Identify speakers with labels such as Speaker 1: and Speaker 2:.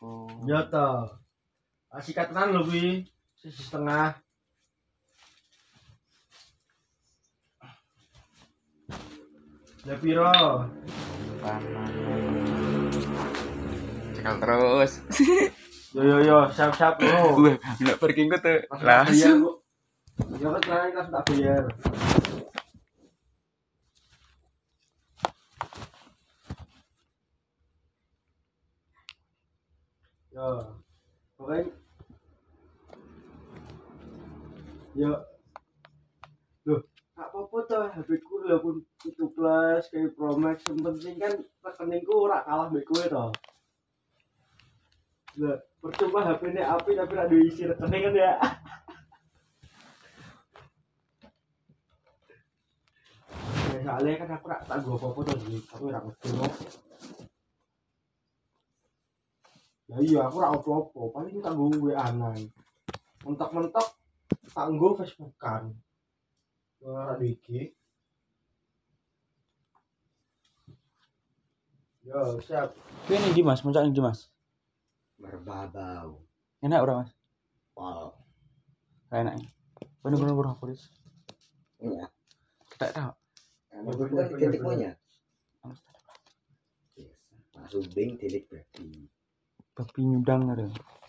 Speaker 1: Oh.
Speaker 2: Ya toh. Ah, Sikat tenan lho kuwi. Sisi setengah. Ya piro?
Speaker 1: Panas. Cekal terus.
Speaker 2: Yo yo yo, siap-siap lho.
Speaker 1: Wah, nggak pergi gue tuh.
Speaker 2: Langsung tak bayar,
Speaker 3: Iya.
Speaker 1: Langsung.
Speaker 2: kok. Iya, Ya kan tenan kan tak bayar. Yo. Oke. Yo. Ya. Loh, gak apa-apa toh HP ku lho pun itu plus kayak Pro Max yang penting kan rekeningku ora kalah mbek kowe toh. Lah, percuma HP ini api tapi ora duwe isi rekening kan ya. Ya, soalnya kan aku rak tak gua apa-apa tuh jadi aku rak ngono. Ya iya aku rak apa-apa paling tak gua WA nang. Mentok-mentok tak gua Facebookan. Ora di IG. Yo, siap.
Speaker 3: Ini nih Dimas, muncak nih Dimas.
Speaker 4: berbabau
Speaker 3: Enak ora Mas?
Speaker 4: pol
Speaker 3: Ra enak. Bener bener bener polis.
Speaker 4: ya
Speaker 3: Tak tahu.
Speaker 4: emang itu kan titik punya langsung bing titik berarti
Speaker 3: Babi nyudang ada.